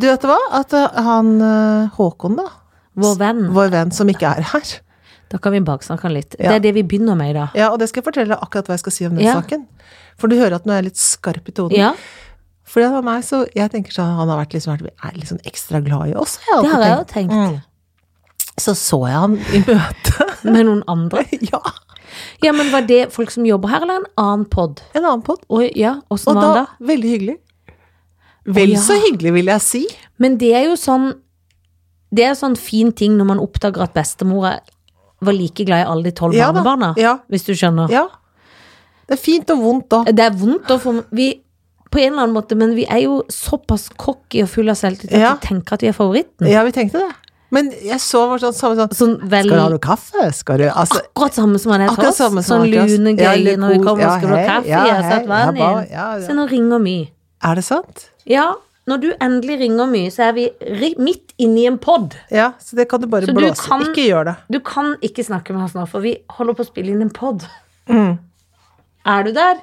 Du vet hva? At eh, han eh, Håkon, da. Vår venn. Vår venn som ikke er her. Da kan vi baksnakke han litt. Ja. Det er det vi begynner med i dag. Ja, og det skal jeg fortelle deg akkurat hva jeg skal si om den Ja. saken. For du hører at nå er jeg litt skarp i tonen. Ja, For det var meg, så jeg tenker sånn Han har vært liksom, vært- er liksom ekstra glad i oss, har det jeg har jeg jo alltid tenkt. tenkt. Mm. Så så jeg han i møte. Med noen andre. ja, Ja, men var det folk som jobber her, eller en annen pod? en annen pod. Oi, ja, åssen Og var da han da? Veldig hyggelig. Vel ja. så hyggelig, vil jeg si. Men det er jo sånn Det er sånn fin ting når man oppdager at bestemora var like glad i alle de tolv Ja da. barnebarna. Ja. Hvis du skjønner. Ja. Det er fint og vondt da. Det er vondt å få vi, På en eller annen måte, men vi er jo såpass cocky og fulle av selvtillit at Ja. vi tenker at vi er favoritten. Ja, vi tenkte det. Men jeg så var sånn, samme sånn Sånn vel Skal du ha noe kaffe? Skal du Altså Akkurat samme som han er til Akkurat oss. samme som Sånn han er til oss. lune Ja, greie litt når vi kos- kommer. ja, skal du ha hei, kaffe? ja, jeg har hei, satt vann ja, ba- inn. ja, ja. Se, nå ringer vi. Er det sant? Ja, når du endelig ringer my, så er vi ri- midt inni en pod. Ja, så det kan du bare Så du blåse. kan- Ikke gjør det. Du kan ikke snakke med oss nå, for vi holder på å spille inn en pod. Er du der?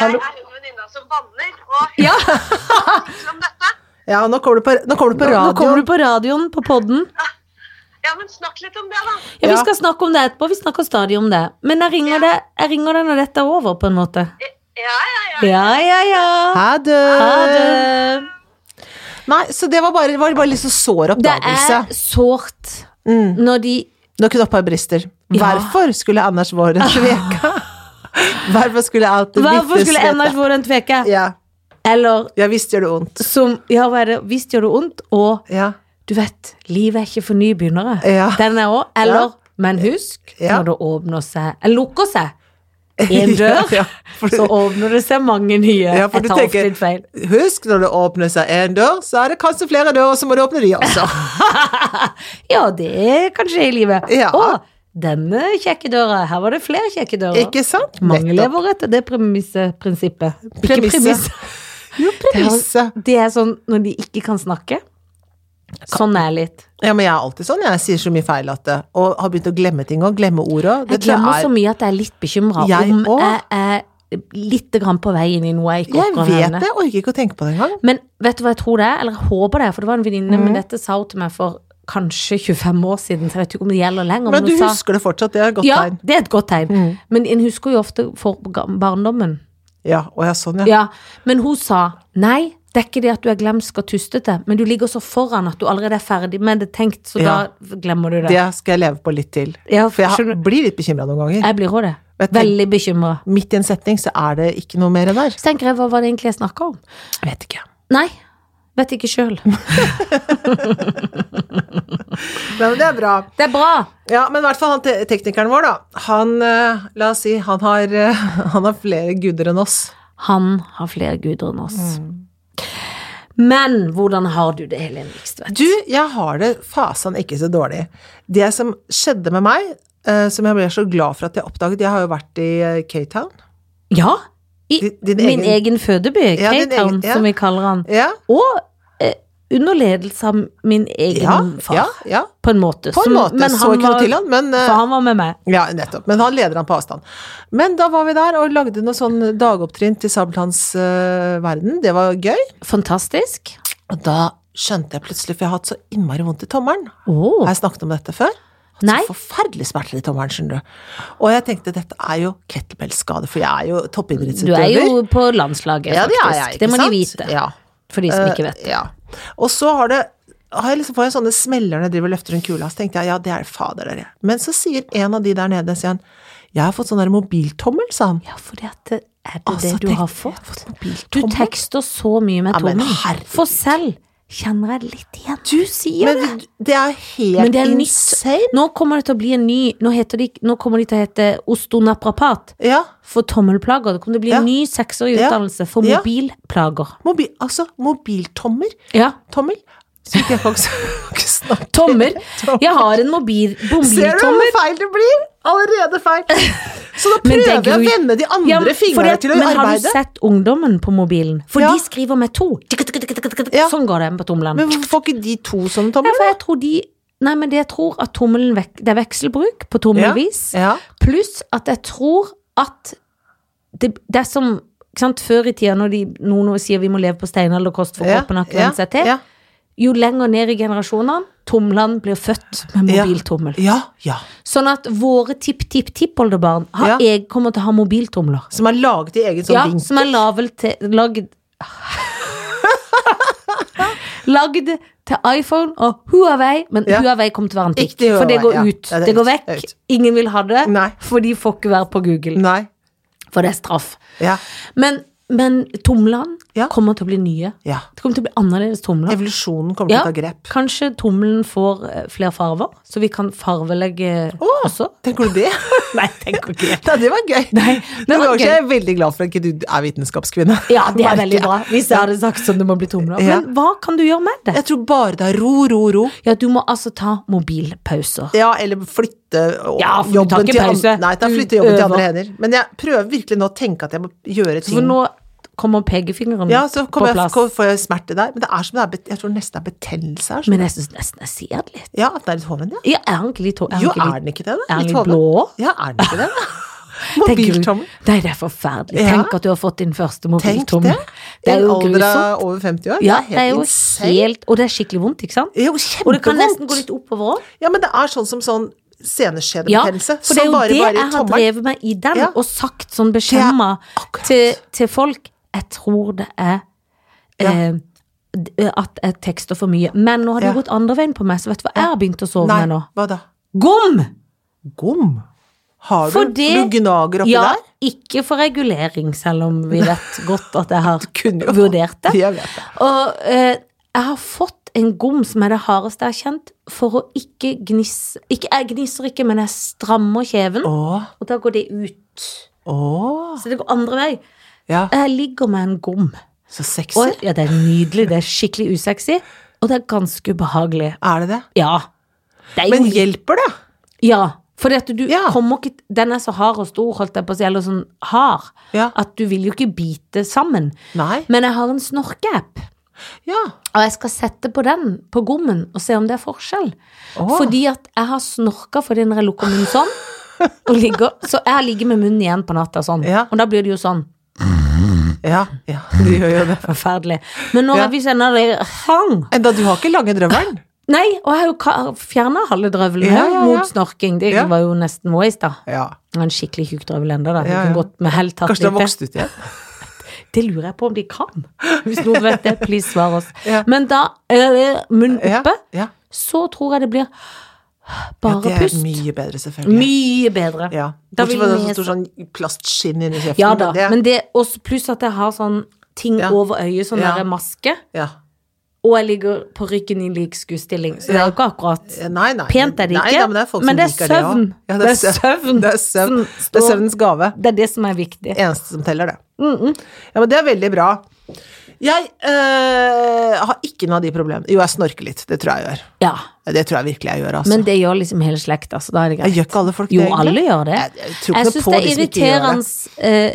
Jeg er hun venninna som banner og Ja, hilser om dette. Ja, nå kommer du på, nå kommer du på nå radioen. kommer du på radioen på podden. Ja, men snakk litt om det, da. Ja, vi Ja. skal snakke om det etterpå. Vi snakker stadig om det. Men jeg ringer deg, jeg ringer deg når dette er over, på en måte. Ja, ja, ja. Ja, ja, ja. Ha det! Ha det. Nei, så det var bare, var bare litt så sår Det oppdagelse. er sårt Mm. når de Når knopper brister. Ja. Hvorfor skulle Anders Våren tveka? Hvorfor skulle alt det Hvorfor bitte skulle slette? Anders Våren tveke? Ja, Eller ja visst gjør det vondt. som Ja, hva er det? Visst gjør det vondt, og Ja, du vet, livet er ikke for nye begynnere. Ja. Den er òg. Eller, men husk, Ja. når det åpner seg Eller lukker seg en dør, Ja, ja, for- så åpner det seg mange nye. Ja, for Jeg du tar ofte tenker- litt feil. Husk, når det åpner seg en dør, så er det kanskje flere dører, så må du åpne de også. Ja, det er kanskje i livet. Ja. Å, denne kjekke døra. Her var det flere kjekke dører. Ikke sant? mange Nettopp. lever etter det premisseprinsippet. Ikke Premisse. premiss. Jo, premisse. Det er sånn når de ikke kan snakke. Sånn er litt. Ja, men jeg er alltid sånn. Jeg sier så mye feil at det Og har begynt å glemme ting òg. Glemme ord òg. Jeg glemmer så mye at jeg er litt bekymra Jeg om også. jeg er litt grann på vei inn i noe jeg ikke Jeg orker å vet nevne. det. Orker ikke å tenke på det engang. Men vet du hva jeg tror det er? Eller jeg håper det, er, for det var en venninne, men dette sa hun til meg for kanskje 25 år siden, så jeg vet ikke om det gjelder lenger. Men du hun sa- husker det fortsatt. Det er et godt ja, tegn. det er et godt tegn. Mm. Men en husker jo ofte for ga- barndommen. Ja, å ja, sånn, ja. Ja, men hun sa nei, det er ikke det at du er glemsk og tustete, men du ligger så foran at du allerede er ferdig med det tenkt, så Ja. da glemmer du det. Det skal jeg leve på litt til. Ja, For jeg skjønner- har- blir litt bekymra noen ganger. Jeg blir òg det. Jeg tenker- Veldig bekymra. Midt i en setning så er det ikke noe mer der. Så tenker jeg, hva var det egentlig jeg snakka om? Jeg vet ikke. Nei, vet ikke sjøl. Nei, men det er bra. Det er bra. Ja, men i hvert fall han te teknikeren vår, da. Han, eh, la oss si, han har, eh, han har flere guder enn oss. Han har flere guder enn oss. Mm. Men hvordan har du det, Helene Vikstvedt? Du, jeg har det fasan ikke så dårlig. Det som skjedde med meg, eh, som jeg ble så glad for at jeg oppdaget Jeg har jo vært i eh, K-Town. Ja, i Din- din min egen- egen fødeby, Ja, din K-Town, egen- ja. som vi kaller han. Ja, Og eh, under ledelse av min egen ja, far, ja, ja. på en måte. På en Som- måte. men så ikke noe var- til han, men eh, For han var med meg. Ja, nettopp. Men han leder han på avstand. Men da var vi der og lagde noe sånn dagopptrinn til Sabeltanns eh, verden. Det var gøy. Fantastisk. Og da skjønte jeg plutselig, for jeg har hatt så innmari vondt i tommelen. Åh. Har jeg snakket om dette før? Hatt Nei. så forferdelige smerter i tommelen, skjønner du. Og jeg tenkte dette er jo kettlebellskade, for jeg er jo Du er toppidrettsutøver. jo på landslaget, ja, det, faktisk. er jeg, ikke det må de sant? vite, Ja. for de som ikke vet det. Eh, Ja. Og så har det har jeg liksom, får jeg sånne smeller når jeg driver og løfter en kule, så tenkte jeg ja, det er fader dere. Men så sier en av de der nede, sier han, jeg har fått sånn der mobiltommel, sa han. Ja, for er det Altså, det du tenk- har jeg har fått? fått mobiltommel. Du tekster så mye med Ja, men tommelen. herregud. for selv kjenner jeg litt igjen. Du sier Men det. det, det er helt Men det er nytt. insane. Nå kommer det til å bli en ny Nå, heter de, nå kommer de til å hete ostonaprapat Ja, for tommelplager. Det kommer til å bli en Ja. ny seksårig Ja. utdannelse for Ja. mobilplager. mobil, altså mobiltommer. Ja. Tommel. Så ikke jeg faktisk ikke snakker. Tommer. Tommer. Jeg har en mobil, Ser du hvor mobiltommer. feil det blir? Allerede feil. Så da Men prøver det er jeg å gru- vende de andre Ja, men fordi fingrene at- til å Men har du arbeide. sett ungdommen på mobilen? For Ja. de skriver med to. Tikk, tikk, tikk, tikk, tikk, tikk. Ja. Sånn går det på tomlene. Men hvorfor får ikke de to sånne Ja, tomler? for jeg tror de Nei, men det jeg tror at tommelen vek, Det er vekselbruk på tommelvis. Ja. Pluss at jeg tror at det, det er som ikke sant, Før i tida, når de, noen sier vi må leve på steinalderkost for Ja, kroppen har ikke ja, vent seg til, ja. jo lenger ned i generasjonene tomlene blir født med Ja. mobiltommel. Ja, ja. Sånn at våre tipp-tipp-tippoldebarn har- Ja. jeg kommer til å ha mobiltomler. Som er laget i egen sånn ja, vinkel. som er laget til Lagd Lagd til iPhone og Huawei, men Ja. Huawei kom til å være antikt. Ikke For det Huawei, går ja. ut. Ja, det er det går ut. vekk. Det er ut. Ingen vil ha det, Nei. for de får ikke være på Google. Nei. For det er straff. Ja. Men, men tomlene Ja. kommer til å bli nye. ja. Det kommer til å bli annerledes tomler. Evolusjonen kommer Ja. til å ta grep. Kanskje tommelen får eh, flere farver, så vi kan farvelegge også. Tenker du det? Nei, tenker ikke det. Nei, det var gøy. Nei, Nå men det var er gøy. jeg veldig glad for at ikke du er vitenskapskvinne. Ja, det er Merker veldig jeg. bra. Hvis jeg hadde sagt sånn, det må bli tomler. Ja. Men hva kan du gjøre med det? Jeg tror bare det er ro, ro, ro. Ja, du må altså ta mobilpauser. Ja, eller flytte og- Ja, for du tar ikke til an- pause. Nei, da Du flytter jobben til andre øver. hender. Men jeg prøver virkelig nå å tenke at jeg må gjøre ting. For nå kommer pekefingeren ja, så på kommer jeg, plass. får jeg smerte der. Men det er som det er, bet- jeg tror nesten det er betennelse her. så- Men jeg syns nesten jeg ser det litt. Ja, at det er litt hoven, ja. Ja, er han ikke litt hår? Jo, er den ikke det? da? er han Litt litt hoven. blå? Ja, er den ikke det? da? Tenker du- Mobiltommel. Nei, det er forferdelig. Ja. Tenk at du har fått din første Tenk mobiltommel. det. Det er I en jo alder grusomt. av over 50 år. Ja, det er jo insane. helt Og det er skikkelig vondt, ikke sant? Det er jo Og det kan nesten gå kjempevondt. litt oppover òg. Ja, men det er sånn som sånn Ja, seneskjedebetennelse. for det er som jo bare det varer i jeg har tommelen. drevet med i den, Ja. og sagt sånn beskjemma akkurat. til, til folk. Jeg tror det er eh, d- at jeg tekster for mye. Men nå har det Ja. gått andre veien på meg, så vet du hva jeg har begynt å sove Nei, med nå? hva da? Gom! Gom? Har du For det- du gnager oppi Ja, der? ikke for regulering, selv om vi vet godt at jeg har kunne jo- vurdert det. Jeg vet det. Og eh, jeg har fått en gom som er det hardeste jeg har kjent, for å ikke gnisse ikke, Jeg gnisser ikke, men jeg strammer kjeven, Åh, og da går det ut. åh. Så det går andre vei. Ja, Jeg ligger med en gom. så sexy. Eh, Og, ja, det er nydelig, det er skikkelig usexy, og det er ganske ubehagelig. Er det det? Ja. Det er jo Men litt- hjelper det? Ja. Fordi at du Ja. kommer ikke Den er så hard og stor, holdt jeg på å si, eller sånn hard, Ja. at du vil jo ikke bite sammen. Nei. Men jeg har en snorkeapp, Ja. og jeg skal sette på den på gommen og se om det er forskjell. Åh. Fordi at jeg har snorka fordi når jeg lukker munnen sånn, og ligger, så jeg har ligget med munnen igjen på natta sånn, Ja. og da blir det jo sånn. Ja, ja, du gjør jo det. Forferdelig. Men nå Ja. har vi kjenner det hang. Enda du har ikke lange drømmeren. Nei, og jeg har jo fjerna halve drøvelen Ja, her ja, ja. mot snorking. Det Ja. var jo nesten waste, da. Ja. Jeg har en skikkelig tjukk drøvel ennå, da. Du Ja, kan ja. godt med hell tatt Kanskje det har litt. vokst ut igjen. Det lurer jeg på om de kan. Hvis noen vet det, please svar oss. Ja. Men da øh, Munn oppe, Ja. så tror jeg det blir Ja, bare det er pust. Mye, mye bedre, selvfølgelig. bedre. Ja. Da Bortsett vil fra det er vi- så stor sånn plastskinn inni kjeften. Ja da. det- Men det, også pluss at jeg har sånn ting Ja. over øyet, sånn Ja. derre maske. ja. Og jeg ligger på ryggen i lik skuestilling, så det er jo ikke akkurat Eh, Nei, nei. Pent er det Nei, ikke, da, men det er, folk som men det er liker det, søvn. Ja, Det det er er søvn. Det er søvn. som Det er står- søvnens gave. Det er det som er viktig. eneste som teller, det. Ja, men det er veldig bra. Jeg eh, har ikke noe av de problemene. Jo, jeg snorker litt. Det tror jeg jeg gjør. Ja, Det tror jeg virkelig jeg gjør, altså. Men det gjør liksom hele slekta, så da er det jeg greit. gjør ikke alle folk det, Jo, egentlig. alle gjør det. Jeg- jeg tror ikke Jeg noe syns på det er de som ikke gjør det. irriterende eh,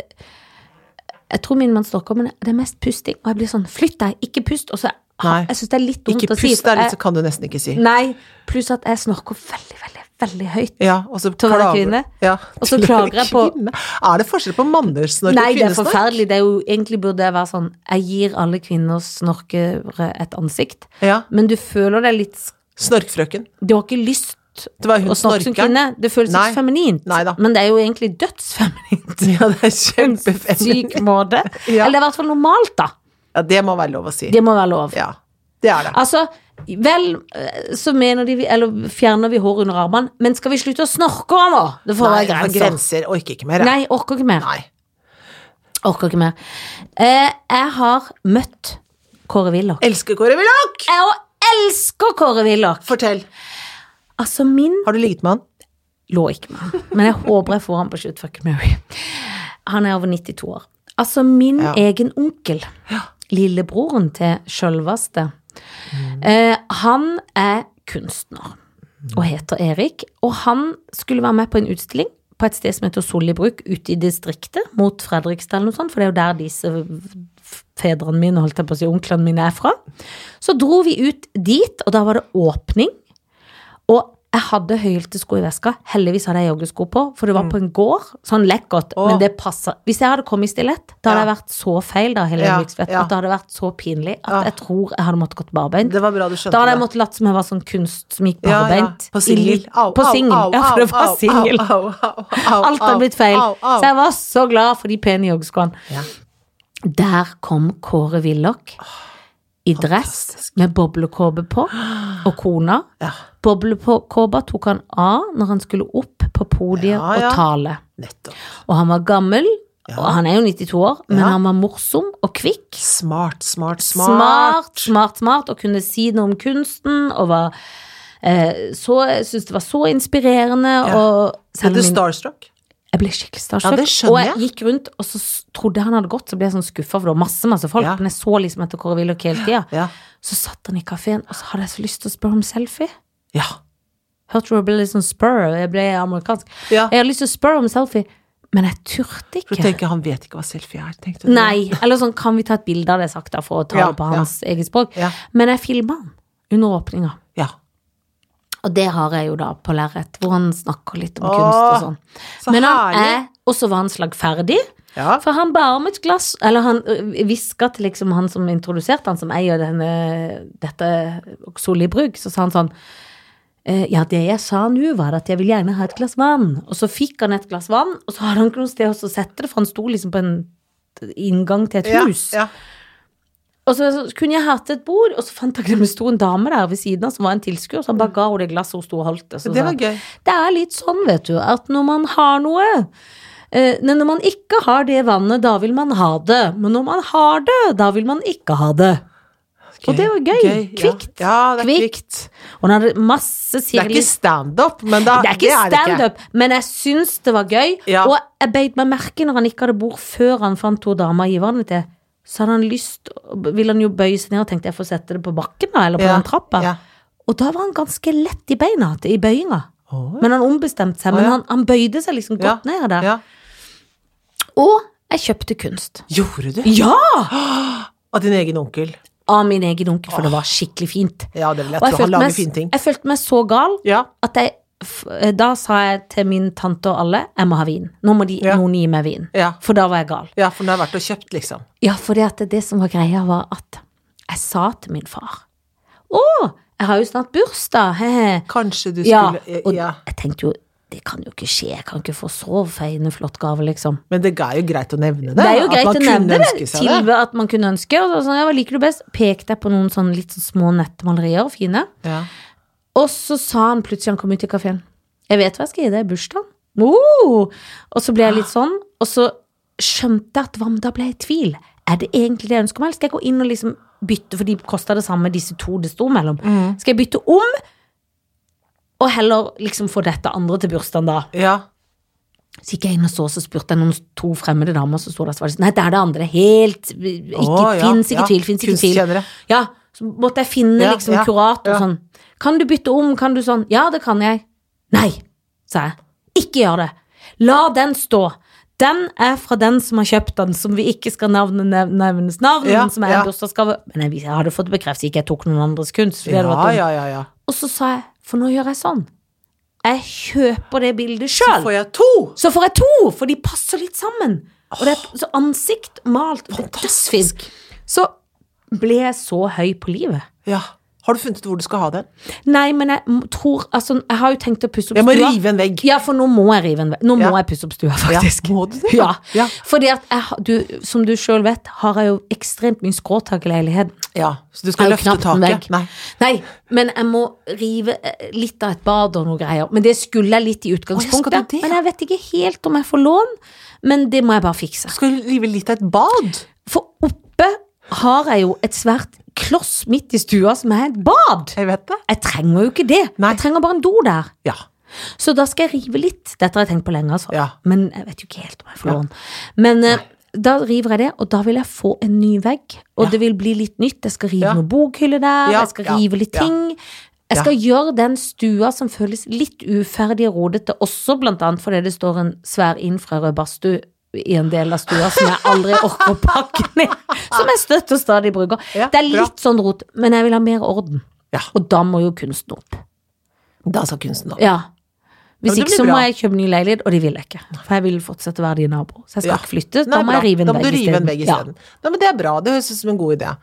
Jeg tror min mann snorker, men det er mest pusting. Og jeg blir sånn Flytt deg, ikke pust. Og så ah, Nei. Jeg syns det er litt dumt Ikke å si. pust, det er litt, for så kan du nesten ikke si. jeg, Mm. nei, pluss at jeg snorker veldig, veldig, veldig høyt. Ja, og så Til å være klager- kvinne. Ja, Og så til å være klager jeg på- kvinne. Er det forskjell på mannesnork og Nei, det er kvinnesnork? forferdelig. Det er jo, egentlig burde det være sånn Jeg gir alle kvinner snorkere et ansikt, Ja. men du føler deg litt Snorkfrøken. Du har ikke lyst Det var hun å snakke som snorkeren. kvinne. Det føles Nei. ikke feminint, Nei da. men det er jo egentlig dødsfeminint. Ja, det er På en kjempefeminint. syk måte. Ja. Eller det er i hvert fall normalt, da. Ja, det må være lov å si. Det må være lov. Ja, det er det. Altså, vel, eh, så mener de vi- Eller fjerner vi hår under armene, men skal vi slutte å snorke òg nå? Det får Nei, være det er grenser. grenser orker ikke mer. jeg. Nei, orker ikke mer. Nei. Orker ikke mer. Eh, jeg har møtt Kåre Willoch. Elsker Kåre Willoch! Jeg også elsker Kåre Willoch! Fortell. Altså, min Har du ligget med han? lå ikke med han, men jeg håper jeg får han på Shoot Fuck Mary. Han er over 92 år. Altså, min Ja. egen onkel, lillebroren til sjølveste, eh, han er kunstner og heter Erik, og han skulle være med på en utstilling på et sted som heter Sollibruk, ute i distriktet, mot Fredrikstad eller noe sånt, for det er jo der disse f- fedrene mine, holdt jeg på å si, onklene mine er fra. Så dro vi ut dit, og da var det åpning, og Jeg hadde høyhælte sko i veska. Heldigvis hadde jeg joggesko på, for det var på en gård. Sånn lekkert, Åh. men det passer. Hvis jeg hadde kommet i stilett, da hadde Ja. jeg vært så feil da, Helene Ja, Lyksvedt, ja. at det hadde vært så pinlig at Ja. jeg tror jeg hadde måttet gått barbeint. Det var bra du skjønte Da hadde jeg det. måttet latt som jeg var sånn kunst som gikk Ja, ja. barbeint. På i singel. litt- Au, På au, singel, au, ja, for au, det var au, singel. au, au, au, au, Alt hadde au, blitt feil. au, au. Så jeg var så glad for de pene joggeskoene. Ja. Der kom Kåre Willoch i fantastisk. dress med boblekåpe på, og kona. Ja, Boblekåpa tok han av når han skulle opp på podiet Ja, ja. og tale. nettopp. Og han var gammel, og han er jo 92 år, men Ja. han var morsom og kvikk. Smart, smart, Smart, smart. smart, smart, og kunne si noe om kunsten, og var eh, så, jeg synes det var så inspirerende. Ja. Og Ble selv du om min- starstruck? jeg ble skikkelig starstruck. Ja, det skjønner og jeg gikk rundt, og så s- trodde jeg han hadde gått, så ble jeg sånn skuffa, for det var masse masse folk. Ja. Men jeg så liksom etter Kåre Willoch hele tida. Ja. Så satt han i kafeen, og så hadde jeg så lyst til å spørre om selfie. Ja. Hørte du jeg ble litt sånn spur, jeg ble amerikansk. ja. Jeg hadde lyst til å spørre om selfie, men jeg turte For du ikke. tenker han vet ikke hva selfie er, tenkte du. Nei, eller sånn, kan vi ta et bilde av det sakte for å ta Ja, det på ja. hans eget språk? Ja. Men jeg filma han under åpninga, Ja. og det har jeg jo da på lerret, hvor han snakker litt om Åh, kunst og sånn. Så Men han herlig. er, og så var han slagferdig. Ja. For han ba om et glass, eller han hviska til liksom han som introduserte han, som eier denne, dette Solli Brugg, så sa han sånn «Eh, Ja, det jeg sa nå, var at jeg vil gjerne ha et glass vann. Og så fikk han et glass vann, og så hadde han ikke noe sted å sette det, for han sto liksom på en inngang til et Ja, hus. ja. Og så, så kunne jeg hatt et bord, og så fant jeg at det sto en dame der ved siden av som var en tilskuer, så han bare ga henne det glasset hun sto og holdt. Og så Mm. Det sa var han, gøy. det er litt sånn, vet du, at når man har noe eh, Men når man ikke har det vannet, da vil man ha det. Men når man har det, da vil man ikke ha det. Og det var gøy. Kvikt. Ja. ja, det er kvikt. Kvikt. Og hun hadde masse Det er ikke sirlis. standup, men da, Det er ikke Ah, det ikke. standup, men jeg syns det var gøy. Ja. Og jeg beit meg merke når han ikke hadde bord før han fant to damer å gi vannet til. Så hadde han lyst, ville han jo bøye seg ned og tenkte jeg får sette det på bakken da, eller på Ja, den trappa. ja. Og da var han ganske lett i beina, i bøyinga. Å, ja. Men han ombestemte seg. Å, Men ja. han, han bøyde seg liksom godt ned der. Ja. Og jeg kjøpte kunst. Gjorde du? Ja! Av din egen onkel. Av min egen onkel, for det var skikkelig fint. Ja, det vil jeg Og tro. jeg Han følte, lager meg, fine ting. jeg følte meg så gal Ja. at jeg f- eh, Da sa jeg til min tante og alle jeg må ha vin. Nå må de, Ja. noen gi meg vin. Ja. For da var jeg gal. ja, for den har vært og kjøpt, liksom. Ja, for det, at det som var greia, var at jeg sa til min far Å, jeg har jo snart bursdag, he-he. Kanskje du Ja, skulle eh, og ja. jeg tenkte jo det kan jo ikke skje, jeg kan ikke få så feiende flott gave, liksom. Men det er jo greit å nevne det. Det er jo at greit å man kunne nevne det. ønske seg Tilbud at man kunne ønske. Og så, sånn, ja, hva liker du best? Pekte jeg på noen sånn litt sånn små nettmalerier, fine. det. Ja. Og så sa han plutselig, han kom ut i kafeen, jeg vet hva jeg skal gi deg i bursdagen. Oh! Og så ble jeg litt sånn, og så skjønte jeg at hva om da ble jeg i tvil? Er det egentlig det jeg ønsker meg, eller skal jeg gå inn og liksom bytte, for de kosta det samme, disse to det sto mellom. Skal jeg bytte om, og heller liksom få dette andre til bursdagen da? ja. Så gikk jeg inn og så, så spurte jeg noen to fremmede damer som sto der. Så var det sånn, nei, det er det andre. Helt Ikke Å, ja, fins, ikke ja. tvil, fins ikke tvil. Kunstkjennere. Ja, så måtte jeg finne Ja, liksom ja, kurator ja. sånn. Kan du bytte om, kan du sånn? Ja, det kan jeg. Nei, sa jeg. Ikke gjør det. La den stå. Den er fra den som har kjøpt den, som vi ikke skal navne nev- nevnes navn, Ja, men som er ja. en bursdagsgave. Men jeg, jeg hadde fått bekreftet ikke jeg tok noen andres kunst. for Ja, det hadde vært dumt. ja, ja, ja. Og så sa jeg, for nå gjør jeg sånn. Jeg kjøper det bildet Så sjøl. får jeg to! Så får jeg to, for de passer litt sammen. Og det er så ansikt malt. det er Fantastisk. dødsfint. Så ble jeg så høy på livet. Ja. Har du funnet ut hvor du skal ha den? Nei, men jeg m- tror altså, Jeg har jo tenkt å pusse opp Jeg må stua. rive en vegg. Ja, for nå må jeg rive en vegg. Nå Ja. må jeg pusse opp stua, faktisk. Ja, må du det? Ja. Ja. Fordi at jeg, har- du, som du sjøl vet, har jeg jo ekstremt mye skråtak i leiligheten. Ja. Så du Jeg skal har løfte knapt taket? en vegg. Nei. Nei, men jeg må rive eh, litt av et bad og noe greier. Men det skulle jeg litt Å, i ja, skal utgangspunktet. du det? Men jeg vet ikke helt om jeg får lån. Men det må jeg bare fikse. Du skal rive litt av et bad! For oppe har jeg jo et svært kloss midt i stua som er et bad. Jeg vet det. Jeg trenger jo ikke det. Nei. Jeg trenger bare en do der. Ja. Så da skal jeg rive litt. Dette har jeg tenkt på lenge, altså. Ja. Men jeg vet jo ikke helt om jeg får lån. Men eh, da river jeg det, og da vil jeg få en ny vegg. Og Ja. det vil bli litt nytt. Jeg skal rive Ja. noen bokhyller der, Ja, jeg skal ja, rive litt ja. ting. Jeg skal gjøre den stua som føles litt uferdig og rodete, også blant annet fordi det står en svær infrarød badstue i en del av stua som jeg aldri orker å pakke ned. Som jeg støtt og stadig bruker. Ja, det er bra. litt sånn rot, men jeg vil ha mer orden. Ja. Og da må jo kunsten opp. Da sa kunsten opp. Ja. Ja, men Hvis det ikke så blir må bra. jeg kjøpe ny leilighet, og det vil jeg ikke. For jeg vil fortsette å være din nabo. Så jeg skal Ja. ikke Nei, flytte. Da må bra. jeg rive en da må du vegg rive en isteden. vegg isteden. Nei, men det er bra. Det høres ut som en god idé. Ja.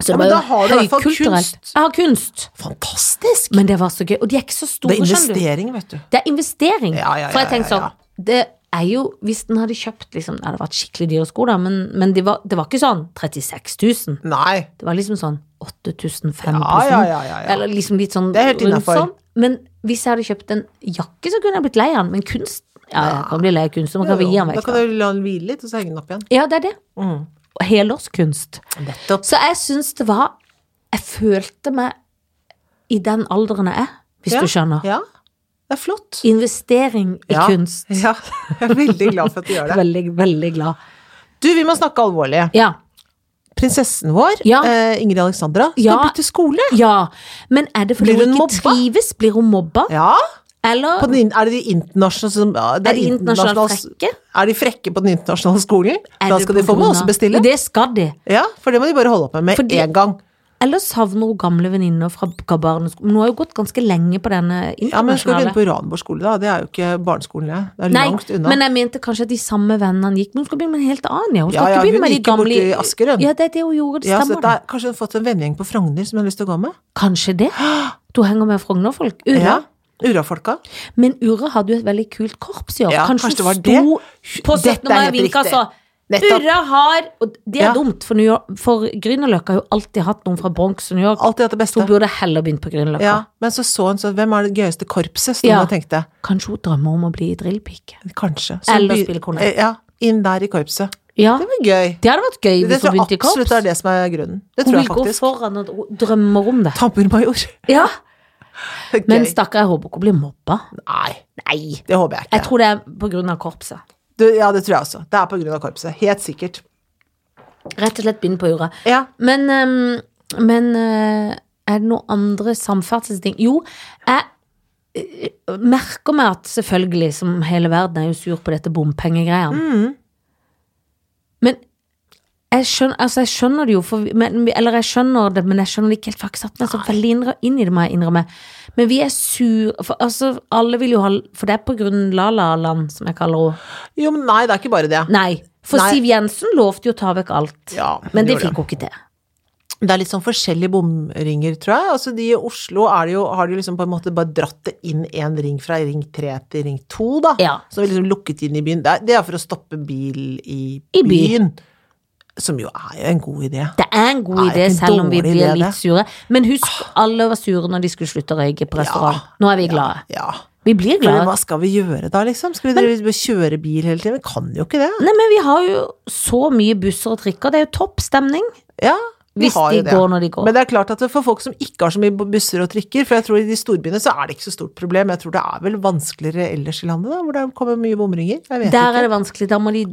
Så Ja, det men var da har du i hvert fall høykulturelt. kunst. Jeg har kunst. Fantastisk! Men det var så gøy. Og de er ikke så Det store, er skjønner du. investering, vet du. Det er investering. Ja, ja, ja, For jeg ja, tenkte sånn ja. Det er jo Hvis den hadde kjøpt liksom Det hadde vært skikkelig dyre sko, da, men, men det, var, det var ikke sånn 36 000. Nei. Det var liksom sånn 8500. Ja, ja, ja, ja, ja. Eller liksom litt sånn Det er helt rundt innenfor. sånn. Men hvis jeg hadde kjøpt en jakke, så kunne jeg blitt lei av den. Men kunst Ja, jeg kan bli lei av kunst. så Man kan Jo, gi den da vekk. kan da. du Mm. la den hvile litt, og så henge den opp igjen. Ja, det er det. Og Helårskunst. Nettopp. Så jeg syns det var Jeg følte meg i den alderen jeg er, hvis Ja, du skjønner. Ja. Det er flott. Investering i ja. kunst. Ja. Jeg er veldig glad for at du gjør det. Veldig, veldig glad. Du, vi må snakke alvorlig. Ja. Prinsessen vår, Ja. eh, Ingrid Alexandra, skal Ja. bytte skole. ja. Men er det fordi Blir hun hun ikke mobba? trives? Blir hun mobba? Ja. Eller På den, in- er det de internasjonale som ja, det er de internasjonalt internasjonale- frekke? Er de frekke på den internasjonale skolen? Er Da det skal på de få med grunn også av- bestille. Det skal de. Ja, for det må de bare holde opp med med Fordi- en gang. Eller savner hun gamle venninner fra fra barneskolen. Men Hun har jo gått ganske lenge på denne Ja, men skal du begynne internasjonale. på Ranborg skole, da? Det er jo ikke barneskolen, det. Det er Nei, langt unna. men eh, jeg mente kanskje at de samme vennene gikk Men hun skal begynne med en helt annen, ja. Hun skal Ja, ja, ikke begynne hun med de gikk jo gamle borti Asker, hun. Ja, det er det hun gjorde, det ja, så stemmer. dette er, kanskje hun har fått en vennegjeng på Frogner som hun har lyst til å gå med? Kanskje det. Du henger med Frogner-folk. Ura. Ja. Urafolka. Men Ura hadde jo et veldig kult korps i år. Ja, kanskje kanskje det var hun sto på 17. Dette er mai helt og vinka riktig. så Nettopp. Ura har Og det er Ja. dumt, for, New York- for Grünerløkka har jo alltid hatt noen fra Bronx og New York. Alltid hatt det Så beste. hun burde heller begynt på Grünerløkka. Ja, men så så hun sånn Hvem er det gøyeste korpset? Sto hun Ja. og tenkte. Kanskje hun drømmer om å bli drillpike. Kanskje. Eller by- spille kornett. eh, Ja. Inn der i korpset. Ja, Det var gøy. det hadde vært gøy Det hvis hun tror jeg begynte i korps. absolutt er det som er grunnen. Det Hun tror jeg vil gå faktisk. foran og dro- drømmer om det. Tamburmajor. Ja, Gøy. Men stakkar, jeg håper ikke hun blir mobba. Nei, Nei. det håper jeg ikke. Jeg tror det er på grunn av korpset. Du, ja, det tror jeg også. Det er på grunn av korpset. Helt sikkert. Rett og slett begynn på jorda. Ja. Men, ehm, men eh, er det noen andre samferdselsting? Jo, jeg eh, merker meg at selvfølgelig, som hele verden, er jo sur på dette bompengegreiene. Mm. Men jeg skjønner, altså jeg skjønner det jo, for, vi- men, eller jeg skjønner det, men jeg skjønner det ikke helt. For jeg har ikke satt meg så veldig innre, inn i det, må jeg innrømme. Men vi er sur for, altså, alle vil jo ha, for det er på grunn la-la-land, som jeg kaller henne. Jo, men nei, det er ikke bare det. Nei, for Nei. Siv Jensen lovte jo å ta vekk alt. Ja, men det gjorde fikk hun ikke til. Det er litt sånn forskjellige bomringer, tror jeg. Altså, de i Oslo er det jo, har de jo liksom på en måte bare dratt det inn en ring fra ring tre til ring to, da. Ja. Så vi liksom lukket inn i byen. Det er, det er for å stoppe bil i, I by. byen. Som jo er jo en god idé. Det er en god Nei, det er idé, en selv om vi dårlig blir idé, litt det. Ah. sure. Men husk, alle var sure når de skulle slutte å røyke på restaurant. Ja. Nå er vi glade. Ja. Vi blir For hva glade. skal vi gjøre da, liksom? Skal vi drive- kjøre bil hele tiden? Vi kan jo ikke det. Nei, men vi har jo så mye busser og trikker. Det er jo topp stemning. Ja, vi Hvis har de jo det. går når de går. Men det er klart at for folk som ikke har så mye busser og trikker, for jeg tror i de storbyene så er det ikke så stort problem, jeg tror det er vel vanskeligere ellers i landet, da, hvor det kommer mye bomringer. Jeg vet Der ikke. er det vanskelig. Da må de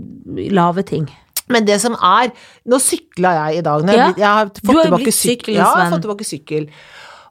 lage ting. Men det som er Nå sykla jeg i dag. Når jeg, Ja. har blitt- jeg har Du fått har jo tilbake blitt sykkel. sykkelens Ja, jeg har venn. fått tilbake sykkel.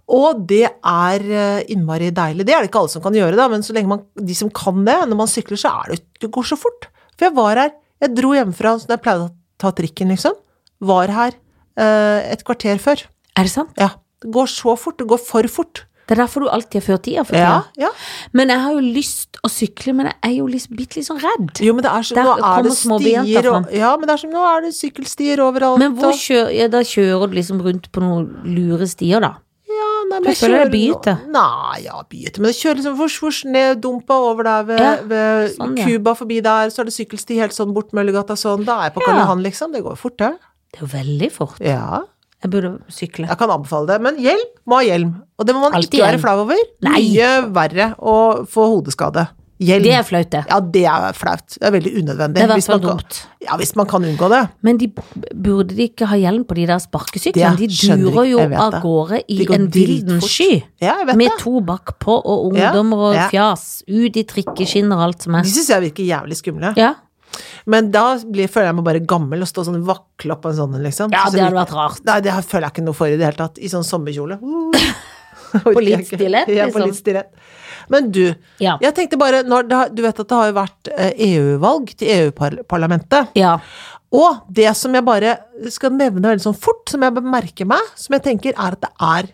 Og det er eh, innmari deilig. Det er det ikke alle som kan gjøre, da, men så lenge man, de som kan det, når man sykler, så er det, det går så fort. For jeg var her Jeg dro hjemmefra når jeg pleide å ta trikken, liksom. Var her eh, et kvarter før. Er det sant? Ja. Det går så fort. Det går for fort. Det er derfor du alltid er før tida. For Ja, tida. ja. Men jeg har jo lyst å sykle, men jeg er jo litt, bitte litt sånn redd. Jo, men det er så, Der nå er kommer det små jenter stier fram. og Ja, men det er som nå er det sykkelstier overalt. Men hvor og- kjører, ja, da kjører du liksom rundt på noen lure stier, da? Ja, nei, men For jeg føler det kjører er byete. nå- Nei, ja, byete. Men jeg kjører liksom vors, vors, ned dumpa over der ved, Ja, ved sånn, ja. Cuba forbi der, så er det sykkelsti helt sånn bort Møllergata sånn. Da er jeg på Karl Ja. Johan, liksom. Det går jo fort, det. Det er jo veldig fort. Ja. Jeg burde sykle. Jeg kan anbefale det. Men hjelm må ha hjelm. Og det må man Alltid ikke være hjelm. flau over. Nei. Mye verre å få hodeskade. Hjelm. Det er flaut, det. Ja, det er flaut. Det er veldig unødvendig. Det er i Hvis hvert fall man kan- dumt. Ja, hvis man kan unngå det. Men de, burde de ikke ha hjelm på de der sparkesyklene? De Det skjønner durer ikke- jo jeg vet av det. gårde i De går en vilden dritfort. sky. Ja, jeg vet Med det. to bakpå og Ja, ungdommer og ja. fjas. Ut i trikkeskinner og alt som De er. syns jeg virker jævlig skumle. Ja, Men da blir, føler jeg meg bare gammel og stå sånn vakle opp på en sånn, liksom. ja Så det hadde virker- vært rart. Nei, det her føler jeg ikke noe for i det hele tatt. I sånn sommerkjole. Uh. På litt stilett, Ja, på liksom. litt stilett. Men du, Ja. jeg tenkte bare når det, har- Du vet at det har jo vært eh, EU-valg til EU-parlamentet. Ja. Og det som jeg bare skal nevne veldig sånn fort, som jeg bemerker meg, som jeg tenker er at det er